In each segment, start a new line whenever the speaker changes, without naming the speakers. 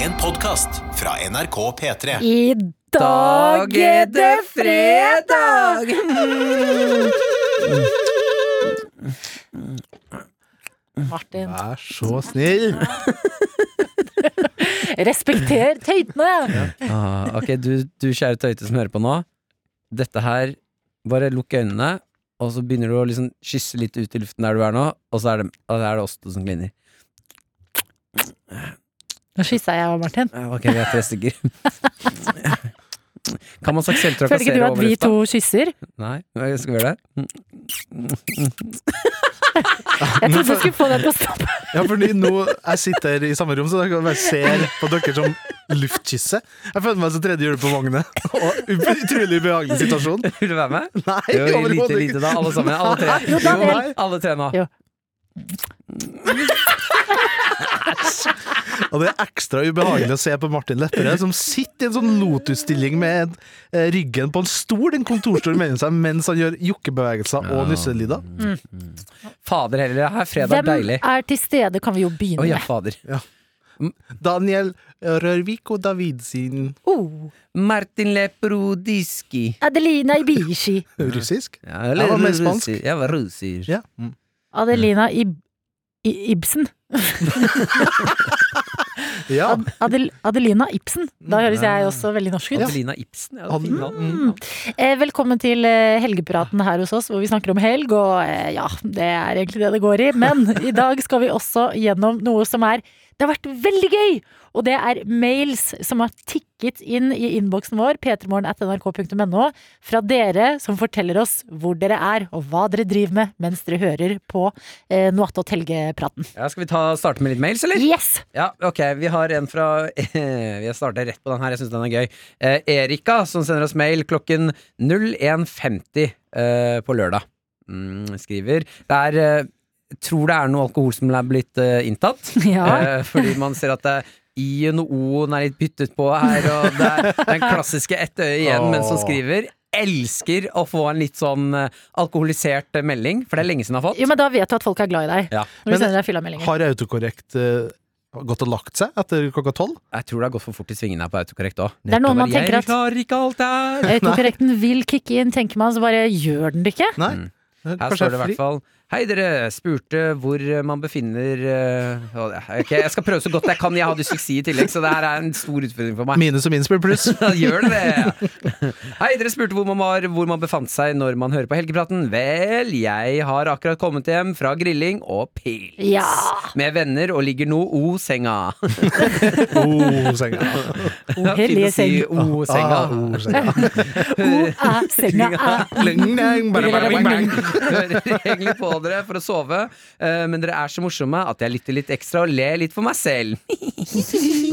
En podkast fra NRK P3.
I dag er det fredag!
Mm.
Martin,
Vær så snill!
respekter tøytene!
Ah, ok, du, du kjære tøyte som hører på nå. Dette her Bare lukk øynene, og så begynner du å liksom kysse litt ut i luften der du er nå, og så er det, og så er det oss to som kliner.
Nå kyssa jeg og Martin.
Ah, Ok, vi er tre stykker. Kan man seksuelt
Føler ikke
trakassere
du at
over
vi
lufta?
to kysser?
Nei, hva skal vi gjøre det?
Jeg trodde jeg skulle få det på stopp.
Ja, fordi nå jeg sitter i samme rom, så dere bare ser på dere som luftkysse. Jeg føler meg som tredje hjul på vognet. Og utrolig ubehagelig situasjon.
Vil du være med?
Nei,
Jo, lite,
overhodet
lite da, alle sammen. Alle tre.
Jo, da vel.
nei, alle tre nå.
Jo.
Og det er ekstra ubehagelig å se på Martin Lepperød, som sitter i en sånn lotusstilling med eh, ryggen på en stol, en kontorstol mellom seg, mens han gjør jokkebevegelser og nusselyder.
Fader heller, her er fredag
Hvem
deilig.
er til stede, kan vi jo
Å
begynne
ja,
med.
fader.
Daniel Rørvik og Davidsin
Oh,
Martin Leprodiski.
Adelina Ibishi.
Russisk?
Ja,
Jeg var mer
russer.
spansk.
Jeg var russer.
Ja. Mm.
Adelina Ib I Ibsen.
ja.
Ad Adel Adelina Ibsen. Da høres jeg også veldig norsk ut.
Adelina Ibsen. Ja,
Han-
fin navn.
Mm. Eh, Velkommen til eh, helgepraten her hos oss, hvor vi snakker om helg. Og eh, ja, det er egentlig det det går i. Men i dag skal vi også gjennom noe som er Det har vært veldig gøy! Og det er mails som har tikket inn i innboksen vår, p3morgen.nrk.no, fra dere som forteller oss hvor dere er, og hva dere driver med mens dere hører på eh, Noattot helgepraten.
Ja, skal vi ta, starte med litt mails, eller?
Yes!
Ja, ok, vi har en fra Vi starter rett på den her, jeg syns den er gøy. Eh, Erika, som sender oss mail klokken 01.50 eh, på lørdag, mm, skriver Det er eh, Tror det er noe alkohol som er blitt eh, inntatt.
Ja.
Eh, fordi man ser at det I-en og O-en er litt byttet på her, og det er den klassiske ett øye igjen, men som
Åh.
skriver Elsker å få en litt sånn eh, alkoholisert eh, melding, for det er lenge siden jeg har fått.
Jo, men da vet du at folk er glad i deg.
Ja.
Når du
Men-
sender deg fyllameldinger.
Har autokorrekt eh, gått og lagt seg etter klokka tolv?
Jeg tror det har gått for fort i svingene her på autokorrekt òg.
Det er noen man tenker at Eh,
Jeg klarer ikke alt det her!
Autokorrekten vil kicke inn, tenker man, så bare gjør den det ikke.
Nei. Eh,
Mm. Her
Kanskje
står det i
jeg er
hvert
fri?
fall Hei, dere spurte hvor eh, man befinner eh, å, det- Ok, jeg skal prøve så godt jeg kan. Jeg har dysleksi i tillegg, så det her er en stor utfordring for meg.
Minus og minus blir pluss.
Ja, Gjør det det? Hei, dere spurte hvor man var, hvor man befant seg når man hører på Helgepraten. Vel, jeg har akkurat kommet hjem fra grilling og pils.
Ja.
Med venner og ligger nå o senga.
Oh, senga.
Oh,
Fint
hellige
å si
seng.
o senga.
Ah, oh, senga.
Oh, ah, senga, ah.
Bling, bling, bare, bare, bing, bing.
Hører egentlig på dere for å sove, eh, men dere er så morsomme at jeg lytter litt ekstra og ler litt for meg selv.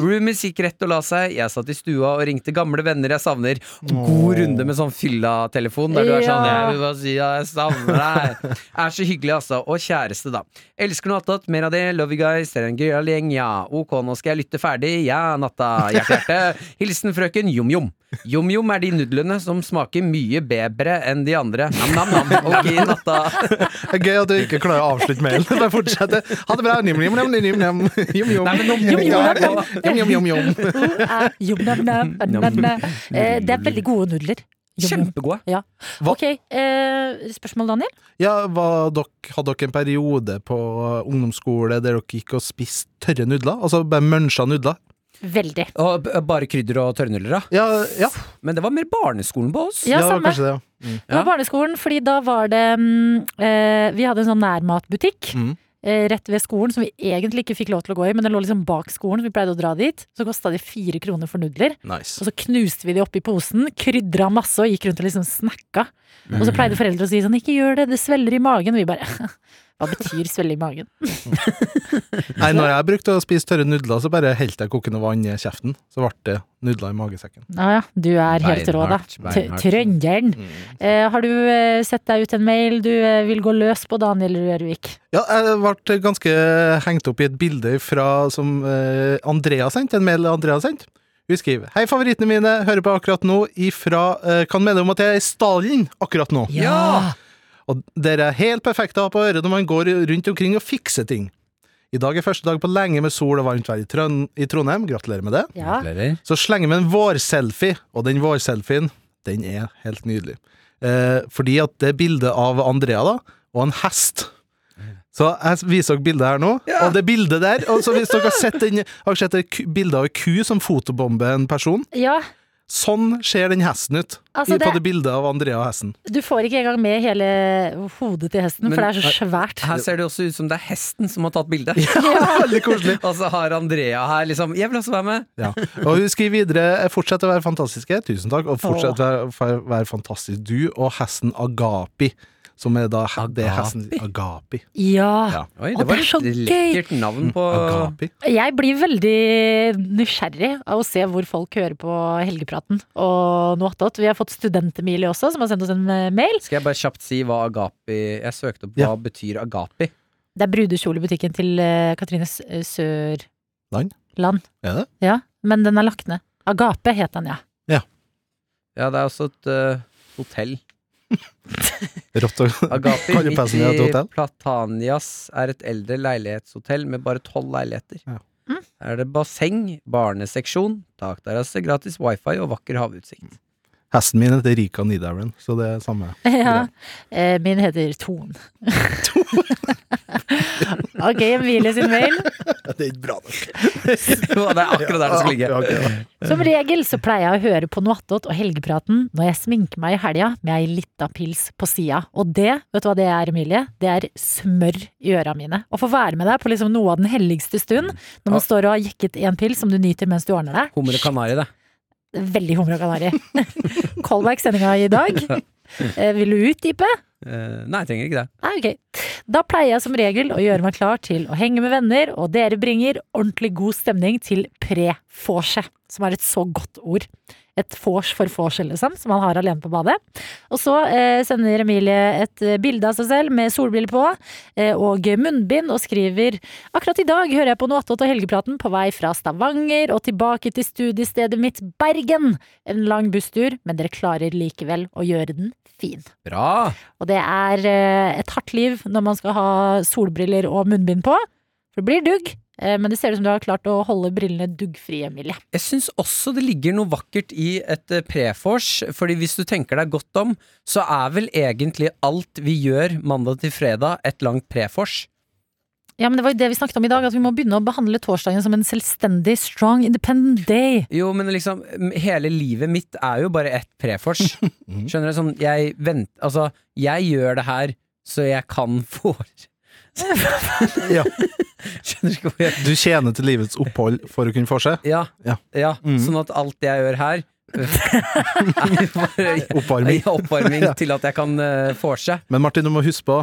Roomies gikk rett og la seg, jeg satt i stua og ringte gamle venner jeg savner. God runde med sånn fylla-telefon der du er sånn
Ja.
Jeg vil bare si at jeg savner deg. Er så hyggelig, altså. Og kjæreste, da. Elsker noe attåt, mer av det. Love you guys. Dere er en gøyal gjeng, ja. Ok, nå skal jeg lytte ferdig. Ja, natta. Hjerte, hjerte. Hilsen frøken Jom-Jom. Jom-Jom er de nudlene som smaker mye bedre enn de andre. Nam-nam-nam. Ok, natta.
Det er Gøy at du ikke klarer å avslutte mailen. Bare fortsette. Ha det bra. Njom, njom, njom, njom, njom. Njom, njom.
Nei, men nå-
Ja, njom, njom, njom, njom.
Oh, ah, jom, nam, nam, ah, nam, nam. Eh, Det er veldig gode nudler. Jom, jom.
Kjempegode.
Ja.
Hva-
Ok, eh, spørsmål, Daniel?
Ja, var dere, hadde dere en periode på eh, ungdomsskole der dere gikk og spiste tørre nudler? Altså bare muncha nudler?
Veldig.
Og b- bare krydder og tørrnuller, da.
Ja, ja.
Men det var mer barneskolen på oss.
Ja,
det var
samme.
kanskje det.
Det var barneskolen, fordi da var det mm, eh, Vi hadde en sånn nærmatbutikk.
Mm.
eh, Rett ved skolen, som vi egentlig ikke fikk lov til å gå i, men den lå liksom bak skolen. så Vi pleide å dra dit. Så kosta det fire kroner for nudler.
Nice.
Og så knuste vi de oppi posen, krydra masse og gikk rundt og liksom snakka. Og så pleide foreldre å si sånn 'ikke gjør det, det svelger i magen'. Og vi bare hva betyr svelle i magen?
Nei, når jeg brukte å spise tørre nudler, så bare helte jeg kokende vann i kjeften. Så ble det nudler i magesekken.
Ja ja, du er helt rå, da.
Beinhardt,
T-
beinhardt. Mm.
Trønderen. Eh, har du eh, sett deg ut en mail du eh, vil gå løs på, Daniel Rørvik?
Ja, jeg ble ganske hengt opp i et bilde fra, som eh, Andrea sendte, en mail Andrea sendte. Hun skriver Hei, favorittene mine, hører på akkurat nå ifra eh, Kan mene om at jeg er i Stalin akkurat nå.
Ja!
Og dere er helt perfekte å ha på øret når man går rundt omkring og fikser ting. I dag er første dag på lenge med sol og varmt vær i, Trøn i Trondheim. Gratulerer med det.
Ja.
Gratulerer.
Så slenger vi en vårselfie, og den vårselfien, den er helt nydelig. Eh, fordi at det er bildet av Andrea da, og en hest. Så jeg viser dere bildet her nå,
Ja.
og det bildet der, og så hvis dere har sett, den, har dere sett det ku- bildet av en ku som fotobomber en person,
ja.
sånn ser den hesten ut.
Altså,
i, på
det-
det bildet av Andrea og hesten.
Du får ikke engang med hele hodet til hesten,
Men-
for det er så svært.
Her ser det også ut som det er hesten som har tatt bildet.
Veldig koselig.
Og så har Andrea her liksom Jeg vil også være med!
Ja. Og hun skriver videre eh, Fortsett å være fantastiske, tusen takk, og fortsett å være, for- være fantastisk du og hesten Agapi. Som er da he- det er hesten Agapi.
Ja.
Oi,
Å,
det
det
var
er så
et
gøy.
lekkert navn på
Agapi.
Jeg blir veldig nysgjerrig av å se hvor folk hører på Helgepraten og noe attåt. Vi har fått Studentemilie også, som har sendt oss en eh, mail.
Skal jeg bare kjapt si hva agapi Jeg søkte opp hva
Ja.
betyr agapi.
Det er brudekjolebutikken til eh, Katrine S- eh, Sørland.
Land? Er det?
Ja, men den er lagt ned. Agape het den, ja.
Ja, det er også et eh, hotell.
Rått og
Agapi
Kan du
midt
passe ned
i
et hotell?
Platanias er et eldre leilighetshotell med bare tolv leiligheter.
Ja.
Mm.
Her er det basseng, barneseksjon, takterrasse, gratis wifi og vakker havutsikt.
Hesten min heter Rika Nidaren, så det er samme.
ja. Eh, Min heter Ton. ok, Emilie sin mail.
Det er ikke bra nok.
Jo, det er akkurat der det skal ligge. Eh.
Som regel så pleier jeg å høre på noe attåt og helgepraten når jeg sminker meg i helga med ei lita pils på sida. Og det, vet du hva det er, Emilie? Det er smør i øra mine. Å få være med deg på liksom noe av den helligste stund, når man står og har jekket en pils som du nyter mens du ordner deg.
Hummer og kanari, det.
Veldig hummer og kanari. Callback-sendinga i dag. Eh, Vil du utdype?
Eh, nei, jeg trenger ikke det.
Nei, Ah, ok. Da pleier jeg som regel å gjøre meg klar til å henge med venner, og dere bringer ordentlig god stemning til pre-vorset, som er et så godt ord. Et vors for vorset, liksom, som man har alene på badet. Og så eh, sender Emilie et eh, bilde av seg selv med solbriller på eh, og munnbind, og skriver Akkurat i dag hører jeg på noe attåt og helgepraten på vei fra Stavanger og tilbake til studiestedet mitt Bergen. En lang busstur, men dere klarer likevel å gjøre den fin.
Bra!
Og det er eh, et hardt liv når man skal ha solbriller og munnbind på. For det blir dugg, eh, men det ser ut som du har klart å holde brillene duggfrie, Emilie.
Jeg syns også det ligger noe vakkert i et eh, prefors, fordi hvis du tenker deg godt om, så er vel egentlig alt vi gjør mandag til fredag, et langt prefors.
Ja, men det var jo det vi snakket om i dag, at vi må begynne å behandle torsdagen som en selvstendig, strong, independent day.
Jo, men liksom, m- hele livet mitt er jo bare ett prefors. Skjønner du? Sånn, jeg vent, Altså, jeg gjør det her så jeg kan få
Ja.
Skjønner du ikke hvor jeg
Du tjener til livets opphold for å kunne få seg
Ja.
Ja.
ja.
Mhm.
Sånn at alt jeg gjør her er bare
oppvarming.
oppvarming til at jeg kan uh, vorse.
Men Martin, du må huske på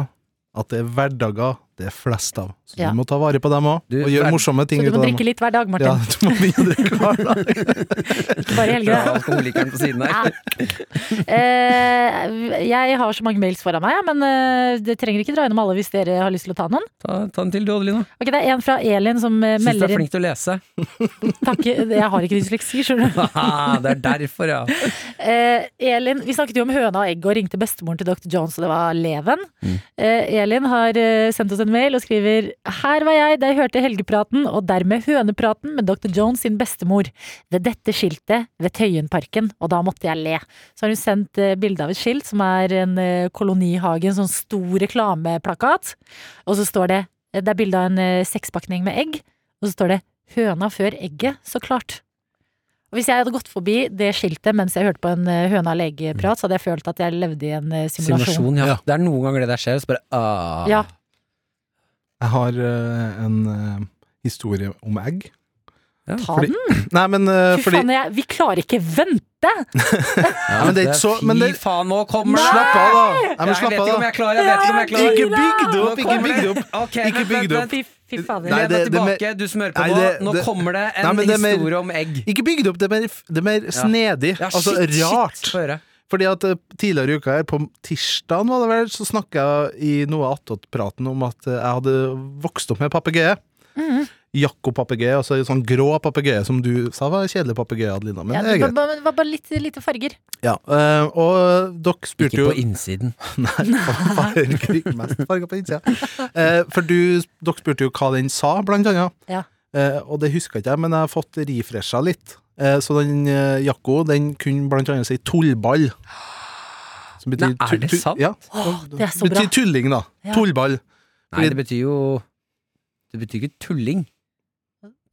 at det er hverdager det er flest av. Så
Ja.
du må ta vare på dem òg,
Du,
og gjøre
hver-
morsomme ting
Så du
ut av
må
dem.
drikke litt hver dag,
Ja,
Martin.
du må begynne å drikke hver dag.
Ikke bare i
Fra
helgene.
alkoholikeren på siden her.
Eh, jeg har så mange mails foran meg, ja, men eh, det trenger ikke dra gjennom alle hvis dere har lyst til å ta noen.
Ta, ta en til du, Adelina.
Ok, Det er en fra Elin som eh,
Syns du
melder
er
inn
flink til å lese.
Takk, jeg har ikke dysleksi, skjønner du.
Haha, Ah, det er derfor, ja.
Eh, Elin, Vi snakket jo om høna og egg og ringte bestemoren til dr. Jones, og det var Leven. Eh, Elin har eh, sendt oss en mail og skriver Her var jeg da jeg hørte helgepraten og dermed hønepraten med dr. Jones sin bestemor ved dette skiltet ved Tøyenparken, og da måtte jeg le. Så har hun sendt eh, bilde av et skilt som er en eh, kolonihage, en sånn stor reklameplakat, og så står det Det er bilde av en eh, sekspakning med egg, og så står det Høna før egget, så klart. Og hvis jeg hadde gått forbi det skiltet mens jeg hørte på en eh, høna og legeprat, så hadde jeg følt at jeg levde i en eh, simulasjon.
Simulasjon, ja.
Ja.
Det er noen ganger det der skjer, og så bare ah.
Ja.
Jeg har eh, en eh, historie om egg.
Ta
Fordi-
den!
Nei, men eh,
Fy
fordi
faen, jeg, vi klarer ikke vente!
Ja,
men det er ikke så- men det-
Fy faen, nå kommer det!
Slapp av, da! Nei, men
Jeg vet
slapp av,
ikke om
da.
jeg er klar, jeg vet ikke om jeg er klar.
Ikke bygg det opp! Ikke
Nå kommer
bygg det
det.
opp!
Ok,
Ikke
vent,
bygg det
vent,
opp.
Fy, fy fader.
Nei,
Lene
det- det er mer-
tilbake, du smører på
Nei, det-
nå. Nå
det-
kommer det en
Nei, men det er mer-
historie om egg.
Ikke bygg det opp, det er mer, det er mer snedig.
Ja,
altså
shit,
rart.
Shit, få høre.
Fordi at eh, tidligere i uka her, på tirsdagen var det vel, så
Mm-hmm.
snakka jeg i noe av attåtpraten om at eh, jeg hadde vokst opp med papegøye. Jakko-papegøye, altså en sånn grå papegøye som du sa var kjedelig papegøye, Adelina. Men
Ja,
det er
det var
greit.
bare, var bare litt, lite farger.
Ja, eh, og dere spurte
Ikke
jo
på innsiden.
Nei, fargerik, mest farger på innsida. Eh, for du, dere spurte jo hva den sa, blant annet.
Ja.
Eh, og det husker ikke jeg, men jeg har fått refresha litt. Eh, så den eh, Jakko den kunne blant annet si tullball. Som
Nei, er
tu-
det
tu-
sant?
Ja.
Åh, det er så bra.
Betyr tulling, da.
Ja.
Tullball.
Nei,
Fordi-
det betyr jo Det betyr ikke tulling.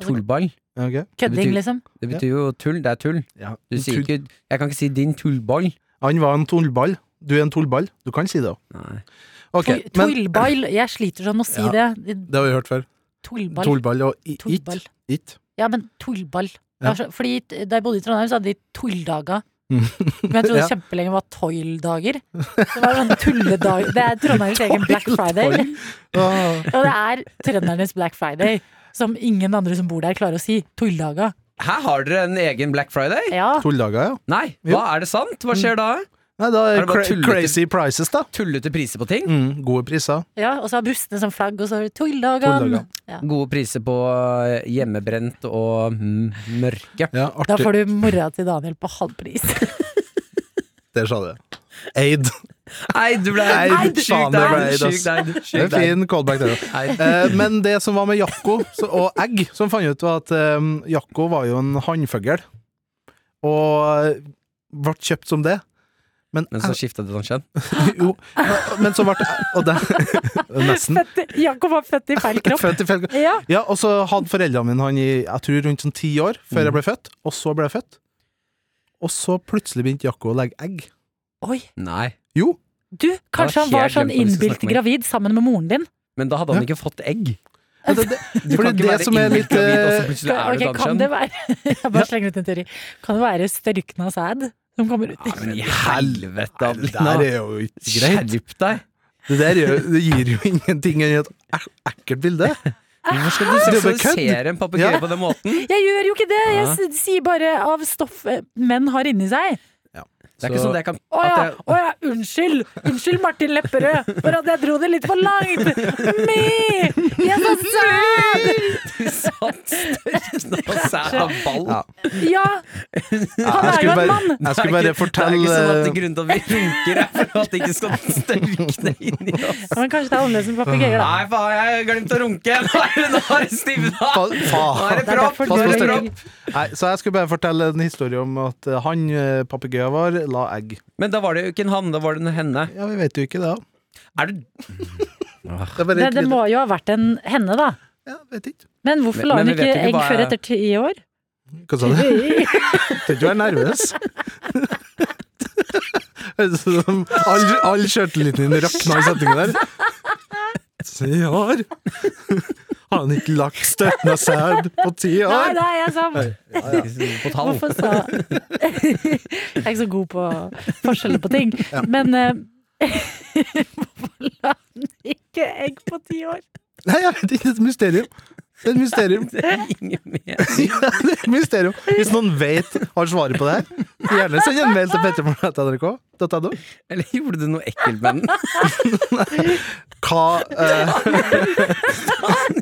Tullball.
Ja, ok.
Kødding,
betyr-
liksom.
Det betyr jo tull. Det er tull.
Ja.
Du sier
Tull-
ikke Jeg kan ikke si 'din tullball'.
Han var en tullball. Du er en tullball. Du kan si det òg.
Nei.
Okay,
Tull-
men
Tullball. Jeg sliter sånn med å si det.
det har vi hørt før.
Tullball.
Tullball og i- it.
Tullball.
it.
Ja, men tullball.
Ja.
Jeg var så- Fordi t- Da jeg bodde i Trondheim, så hadde de tulldaga. Men jeg trodde
Mm. Ja.
kjempelenge var toildager. Det var sånn tulledag Det er Trondheims egen Black Friday.
Ah.
Og det er trøndernes Black Friday. Som ingen andre som bor der, klarer å si. Tulldaga.
Her har dere en egen Black Friday?
Ja.
Tulldager, ja.
Nei,
Jo. Mm.
hva er det sant? Hva skjer da?
Nei, da
Er
er
det bare
cra
tullete?
crazy prices, da.
Tullete priser på ting?
Mm, gode priser.
ja og så har bussene som flagg, og så har du tulldagan.
Tulldagan.
Ja.
Gode priser på eh, hjemmebrent og mm, mørke.
Ja,
Da
artig.
får du mora til Daniel på halv pris.
Der sa du det. Aid.
Nei, du ble
Nei,
Sjukt
faen, det ble
deg,
det,
sjukt deg,
Det er
sjukt
en
deg.
fin callback. Det. da.
Nei.
Eh, men det som var med Jakko så- og egg, som fant ut var at eh, Jakko var jo en hannfugl. Og eh, ble kjøpt som det. Men,
Men så skifta du sånn kjønn.
jo, men så ble Og det Nesten.
Født i- Jakob var født i feil kropp.
Født i feil
Ja.
Ja, og så hadde foreldrene mine han i jeg tror rundt sånn ti år før jeg ble født, og så ble jeg født. Og så plutselig begynte Jakko å legge egg.
Oi.
Nei.
Jo,
Du, kanskje han
Ja,
var
jeg
sånn
glemte hva vi skulle
innbilt
snakke om.
gravid sammen med moren din.
Men da hadde han
Ja.
ikke fått egg.
men det, det,
Du
fordi
kan ikke
det
være
som er litt
inngravid, og så
eh,
plutselig
Skal,
er du et
ok,
annet
kan
kjønn.
det være Jeg bare slenger ut en teori. Kan det være størkna sæd som kommer ut?
Ja, men i helvete,
Det der
Adelina.
er jo ikke greit.
Skjerp deg!
Det der gjør, det gir jo ingenting enn et ek- ekkelt bilde.
Hvorfor skal du
Det er bare Ah! kødd.
seksualisere en papegøye
Ja.
på den måten?
Jeg gjør jo ikke det! Jeg
Ja.
s- sier bare av stoffet menn har inni seg.
Det er ikke
Så-
sånn at jeg kan
Å ja,
at jeg,
å ja, unnskyld! Unnskyld, Martin Lepperød, for at jeg dro det litt for langt! Me! Jeg sa sæd!
Du satt størkna og sæd av ball.
Ja.
Ja! Han er jo
skulle
en
bare,
mann!
jeg skulle bare
Det er ikke
fortelle
sånn at grunnen til at vi runker er for at det ikke skal størkne inni oss.
Ja, Men kanskje det er annerledes med papegøyer, da.
Nei, faen, jeg har glemt å runke! Nå er det- nå har det stivna!
Fa-
Nå er
faen.
Det
det
er
propp!
derfor
Nå er
du
det
er
propp!
Nei, så jeg skulle bare fortelle en historie om at eh, han eh, papegøyen vår la egg.
Men da var det jo ikke en han, da var det en henne.
Ja, vi vet jo ikke det. da.
Er du
Det, er bare
Det,
et
det
lite-
må jo ha vært en henne, da.
ja, vet ikke.
Men hvorfor
Men-
la
men
hun
vi vet
ikke
jo ikke
egg
hva-
før etter ti år?
Hva sa du? Trenger ikke være nervøs. Høres ut som all, all sjøltilliten din rakna i setningen der. Ti år? Har han ikke lagt støtten av sæd på ti
Nei,
år?
nei, jeg sa
på tall?
Hvorfor sa Jeg er ikke så god på forskjeller på ting. Men eh, hvorfor la den ikke egg på ti år?
Nei, jeg vet ikke. Det er et mysterium. Det er et mysterium.
Det er ingen mening.
Ja, det er et mysterium. Hvis noen vet har svaret på det her, gjerne send en mail til pettermorgen.nrk.no.
Eller gjorde du noe ekkelt med den?
Hva eh,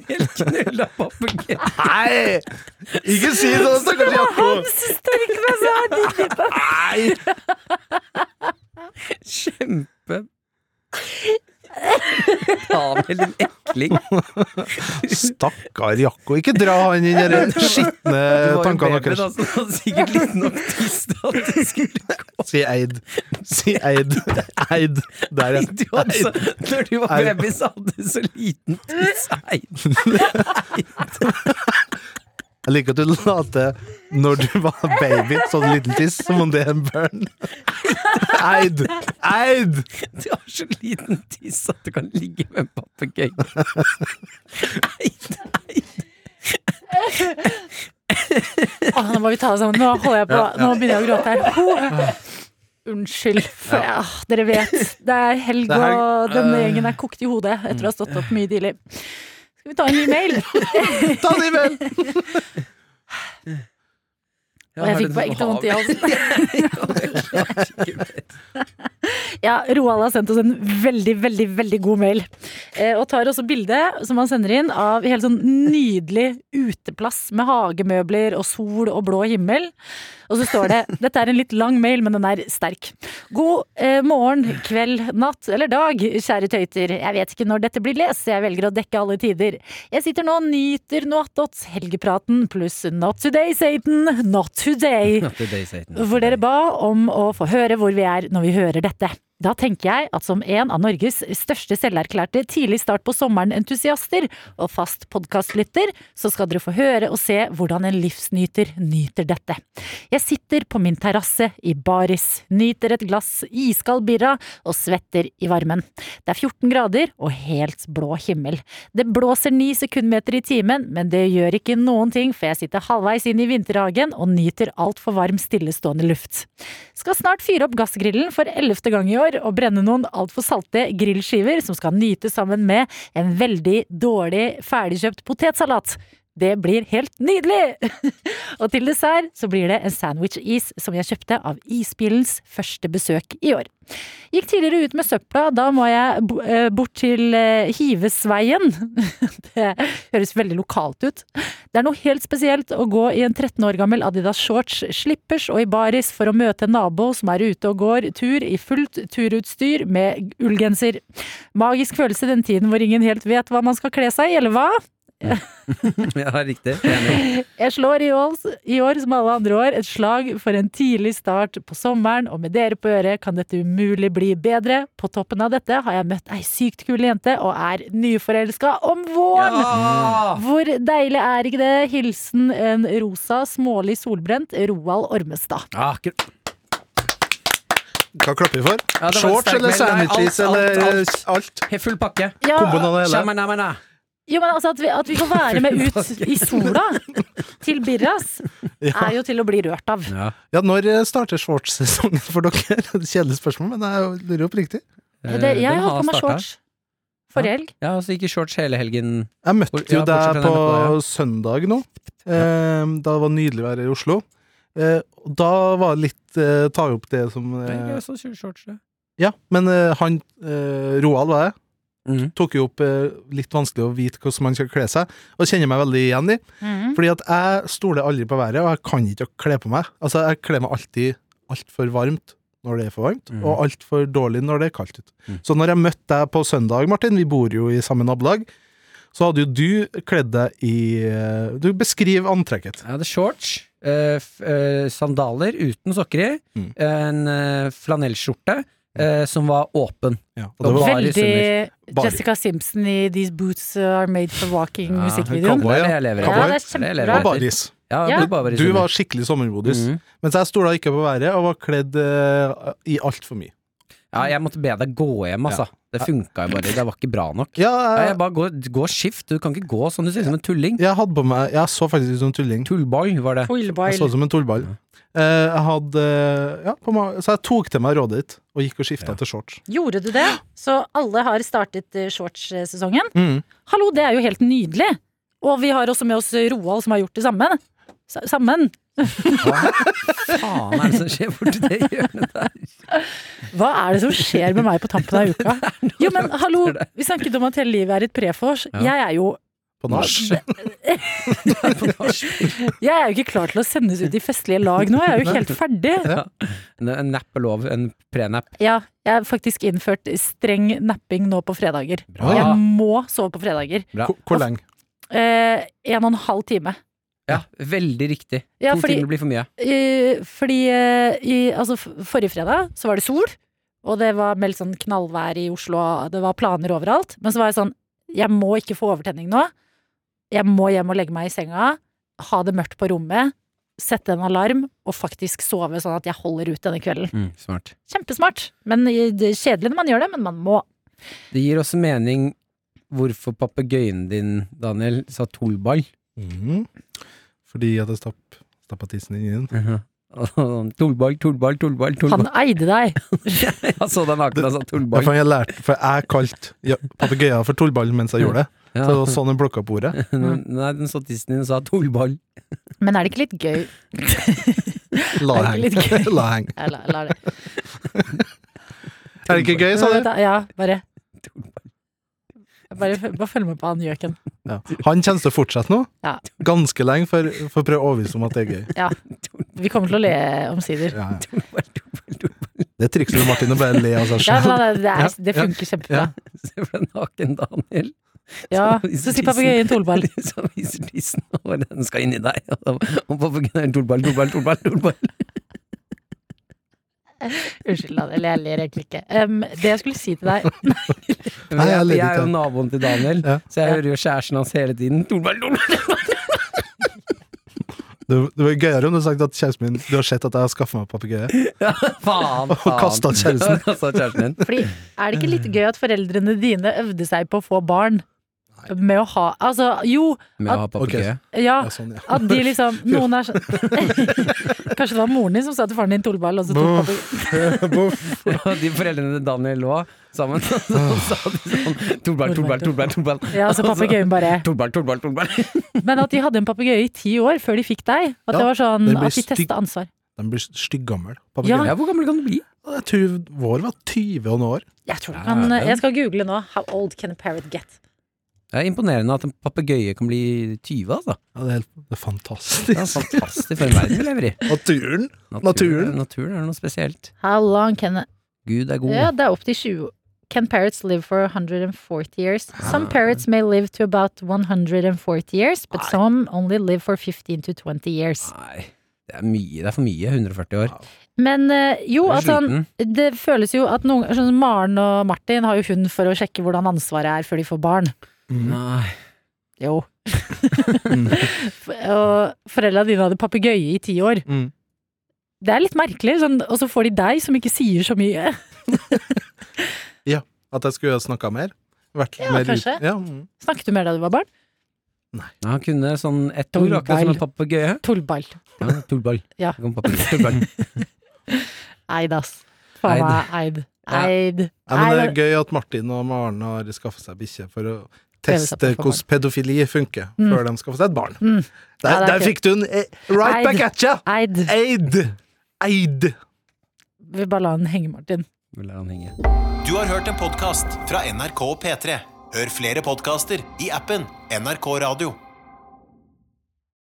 Helt knulla papegøye.
Nei! Ikke si det, stakkars Jakko!
Størkna sæd!
Nei!
Kjempe Daniel, din ekling.
Stakkar Jakko. Ikke dra han inn i de
Du
skitne
var jo
tankene
baby,
deres.
da, så du var sikkert litt nok tyst at det skulle gå.
Si Eid. Si Eid. Eid. Der, ja.
Du hadde så, når du var
Eid.
baby, så hadde du så liten tiss. Nei,
Jeg liker at du later når du var baby, sånn liten tiss, som om det er en børn. Eid. Eid!
du har så liten tiss at du kan ligge med en papegøye. Nei, nei.
Åh, nå må vi ta oss sammen. Nå, holder jeg på. Nå begynner jeg å gråte her. Ho. Unnskyld. For, ja, dere vet. Det er helg,
Det er helg.
og denne gjengen er kokt i hodet etter å ha stått opp mye tidlig. Skal vi ta en ny mail?
Ta det vel!
Og jeg fikk bare ekte vondt i halsen.
Jeg klarer ikke mer.
Ja, Roald har sendt oss en veldig, veldig veldig god mail. Eh, og tar også bilde som han sender inn av helt sånn nydelig uteplass med hagemøbler og sol og blå himmel. Og så står det Dette er en litt lang mail, men den er sterk. God eh, morgen, kveld, natt eller dag, kjære tøyter. Jeg vet ikke når dette blir lest, så jeg velger å dekke alle tider. Jeg sitter nå og nyter Noatdots helgepraten pluss Not today, Satan. Not today.
Not today, Satan.
Hvor dere ba om å få høre hvor vi er når vi hører dette. Da tenker jeg at som en av Norges største selverklærte tidlig start på sommeren-entusiaster og fast podkastlytter, så skal dere få høre og se hvordan en livsnyter nyter dette. Jeg sitter på min terrasse i baris, nyter et glass iskald birra og svetter i varmen. Det er 14 grader og helt blå himmel. Det blåser 9 sekundmeter i timen, men det gjør ikke noen ting, for jeg sitter halvveis inn i vinterhagen og nyter altfor varm, stillestående luft. Skal snart fyre opp gassgrillen for ellevte gang i år og brenne noen altfor salte grillskiver som skal nytes sammen med en veldig dårlig ferdigkjøpt potetsalat. Det blir helt nydelig! og til dessert så blir det en sandwich-is som jeg kjøpte av Isbilens første besøk i år. Gikk tidligere ut med søpla, da må jeg bo- eh, bort til eh, Hivesveien. det høres veldig lokalt ut. Det er noe helt spesielt å gå i en 13 år gammel Adidas shorts, slippers og i baris for å møte en nabo som er ute og går tur i fullt turutstyr med ullgenser. Magisk følelse den tiden hvor ingen helt vet hva man skal kle seg i, eller hva?
Ja, riktig. Enig.
Jeg slår i år, i år, som alle andre år, et slag for en tidlig start på sommeren, og med dere på øret kan dette umulig bli bedre. På toppen av dette har jeg møtt ei sykt kul jente og er nyforelska om våren!
Ja!
Hvor deilig er ikke det? Hilsen en rosa, smålig solbrent Roald Ormestad.
Akkurat.
Hva klapper vi for?
Ja, det var en
Shorts
sterk
eller
mail. Nei,
sandwiches
alt, alt,
eller alt?
alt. Helt Full pakke.
Ja,
Komboen av det hele?
Shamanamana.
jo, men altså at vi, at vi får være med ut i sola til Birras, er jo til å bli rørt av.
Ja.
Ja, når eh, starter shortsesongen for dere? Kjedelig spørsmål, men jeg lurer oppriktig.
Det, jeg
Eh, Den
har på meg
startet.
shorts forrige helg.
Ja, så gikk i shorts hele helgen.
Jeg møtte
Hvor- ja,
jo
bortsett fra
deg
den
på
etterpå,
søndag nå, eh, da det var nydelig vær i Oslo. Eh, og da var det litt eh, Tar vi opp det som eh,
så kjørt shorts, det.
Ja, men eh, han eh, Roald, var det,
Mm.
tok jo opp eh, litt vanskelig å vite hvordan man skal kle seg, og kjenner meg veldig igjen i.
Mhm.
Fordi at jeg stoler aldri på været, og jeg kan ikke å kle på meg. Altså, jeg kler meg alltid altfor varmt når det er for varmt,
Mhm.
og altfor dårlig når det er kaldt ute.
Mm.
Så når jeg møtte deg på søndag, Martin, vi bor jo i samme nabolag, så hadde jo du kledd deg i eh, Du beskriver antrekket.
Jeg hadde shorts, eh, f eh, sandaler uten sokker i,
Mm.
en eh, flanellskjorte eh, som var åpen.
Og det var
Bare
Veldig
Bare.
Jessica Simpson i These Boots uh, Are Made For
Ja,
Walking-musikkvideoen.
Det
cowboy,
er
ja.
det jeg lever i.
Ja, det er
det er
kjempebra.
lever
og baris.
Ja,
Ja.
du bare
Du var skikkelig sommermodus,
Mhm.
mens jeg stola ikke på været og var kledd eh, i altfor mye.
Ja, jeg måtte be deg gå hjem, altså. Det funka jo bare. Det var ikke bra nok.
Ja,
Ja,
jeg,
jeg bare går, går skift. Du kan ikke gå sånn. Du ser ut som en tulling.
jeg hadde på meg Jeg så faktisk ut som en tulling.
Tullboy var det.
Jeg så
Foilboil.
ut som en tullball. Eh, jeg hadde eh, Ja, på meg, så jeg tok til meg rådet ditt, og gikk og skifta til shorts.
Gjorde du det? Så alle har startet eh, shortssesongen.
Mm.
Hallo, det er jo helt nydelig! Og vi har også med oss uh, Roald, som har gjort det samme. Sa- Sammen.
Faen er
altså.
det som skjer borti det hjørnet der?
Hva er det som skjer med meg på tampen av uka? Jo, men hallo, vi snakket om at hele livet er et prefors.
Ja.
Jeg er jo
På nach.
Jeg er jo ikke klar til å sendes ut i festlige lag nå, jeg er jo ikke helt ferdig.
En- En napp er lov. En prenapp.
Ja, jeg har faktisk innført streng napping nå på fredager.
Bra.
Jeg må sove på fredager.
Ja.
Hvor- Hvor lenge?
Eh, en og en halv time.
Ja, veldig riktig.
Ja,
to
fordi-
timer blir for mye.
Eh, fordi eh, i, altså, f- forrige fredag så var det sol, og det var meldt sånn knallvær i Oslo, og det var planer overalt. Men så var jeg sånn, jeg må ikke få overtenning nå. Jeg må hjem og legge meg i senga, ha det mørkt på rommet, sette en alarm og faktisk sove sånn at jeg holder ut denne kvelden.
Mm,
smart.
Kjempesmart. Men eh, det er kjedelig når man gjør det, men man må.
Det gir også mening hvorfor papegøyen din, Daniel, sa tullball.
Mm.
Mhm. Fordi at jeg stapp, stappa tissen inn i den.
Tullball, tullball, tullball, tullball.
Han eide deg.
Jeg så deg naken og sa
Ja, for
tullball.
jeg lærte, for jeg kalte ja, papegøya for tullball mens jeg gjorde det. Så det
Ja.
var sånn den plukka opp ordet.
Nei, den så tissen din og sa tullball.
Men er det ikke litt gøy?
La heng.
Det er litt gøy.
La heng.
Jeg lar, lar det.
Er det ikke gøy, sa du?
Da- Ja, bare bare, bare følg med på han gjøken.
Ja. Han kommer til å fortsette nå,
Ja.
ganske lenge, for, for å prøve å overbevise om at det er gøy.
Ja. Vi kommer til å le omsider.
Ja, ja. Det er trikset med Martin å bare le av seg
Ja,
sjøl.
men det, er, det
Ja.
funker kjempebra.
Ja.
Se for deg naken Daniel
Ja, så si papegøyen Tolball.
som viser tissen, og den skal inn i deg. Og da- og papegøyen Tolball, Tolball, Tolball, Tolball.
Unnskyld, da, eller jeg ler egentlig ikke. Em, det jeg skulle si til deg
Nei, jeg
jeg,
ler
er jo
ikke.
naboen til Daniel,
Ja.
så jeg hører jo kjæresten hans hele tiden. Tolball, Tolball.
Det det var gøyere om du hadde sagt at kjæresten min Du har sett at jeg har skaffa meg papegøye.
Faen,
Og
faen.
kastet kjæresten.
Og kastet kjæresten din.
Fordi, er det ikke litt gøy at foreldrene dine øvde seg på å få barn? Med å ha Altså, jo,
Med å ha papegøye.
ja.
Ja, sånn, ja.
At de liksom Noen er sånn Kanskje det var moren din som sa til faren din Tolball, og så tok
Boff.
papegøyen
Boff.
Og de foreldrene til Daniel lå sammen, og så
Ah.
sa de sånn Tolball, Tolball, Tolball, Tolball.
Ja, så
Altså,
Og så-
papegøyen bare
Tolball, Tolball, Tolball.
Men at de hadde en papegøye i ti år før de fikk deg. At
Ja,
det var sånn
det
at
blir
de
stygg-
testa ansvar.
De blir stygggamle.
Ja.
Papegøye.
Ja, hvor gammel kan du bli?
Jeg tror vår var 20 og noe år.
Jeg tror du
Ja,
kan
den-
Jeg skal google nå. How old can a parrot get?
Det er imponerende at en papegøye kan bli 20, altså.
Ja, det er helt det er
Det er
fantastisk.
fantastisk for en verden vi lever i.
Naturen! Naturen.
Naturen er noe spesielt.
How long can
Gud er god.
Ja, det er opp til 20. Can parrots live for 140 years? Some parrots may live to about 140 years, but some only live for 15 to 20 years.
Nei, det er mye. Det er for mye. 140 år.
Men eh, jo,
Du er
at han,
sliten.
det føles jo at noen sånn, som Maren og Martin har jo hund for å sjekke hvordan ansvaret er før de får barn.
Mm.
Nei.
Jo. og foreldra dine hadde papegøye i ti år.
Mm.
Det er litt merkelig, sånn, og så får de deg som ikke sier så mye.
At jeg skulle snakka mer. Vært
Ja,
mer ut-
kanskje.
Ja, mm.
Snakket du mer da du var barn?
Nei, Han kunne sånn ett ord, akkurat som en papegøye.
Tullball.
Ja, tullball.
Ja.
Det kom papegøye, tullball.
Eid, ass. Faen meg eid.
Ja.
Eid.
ja, men det
Nei,
er gøy at Martin og Maren har skaffa seg bikkje for å
Prøve seg på
teste
for
hvordan pedofili funker, før de skaffer seg et barn.
Mm.
Der,
Ja, det er
der fikk du den! eh, Right
Eid.
back at ya!
Eid.
Eid! Eid!
Vi bare la den henge, Martin.
Vi lar han henge.
Du har hørt en podcast fra NRK P3. Hør flere podcaster i appen NRK Radio.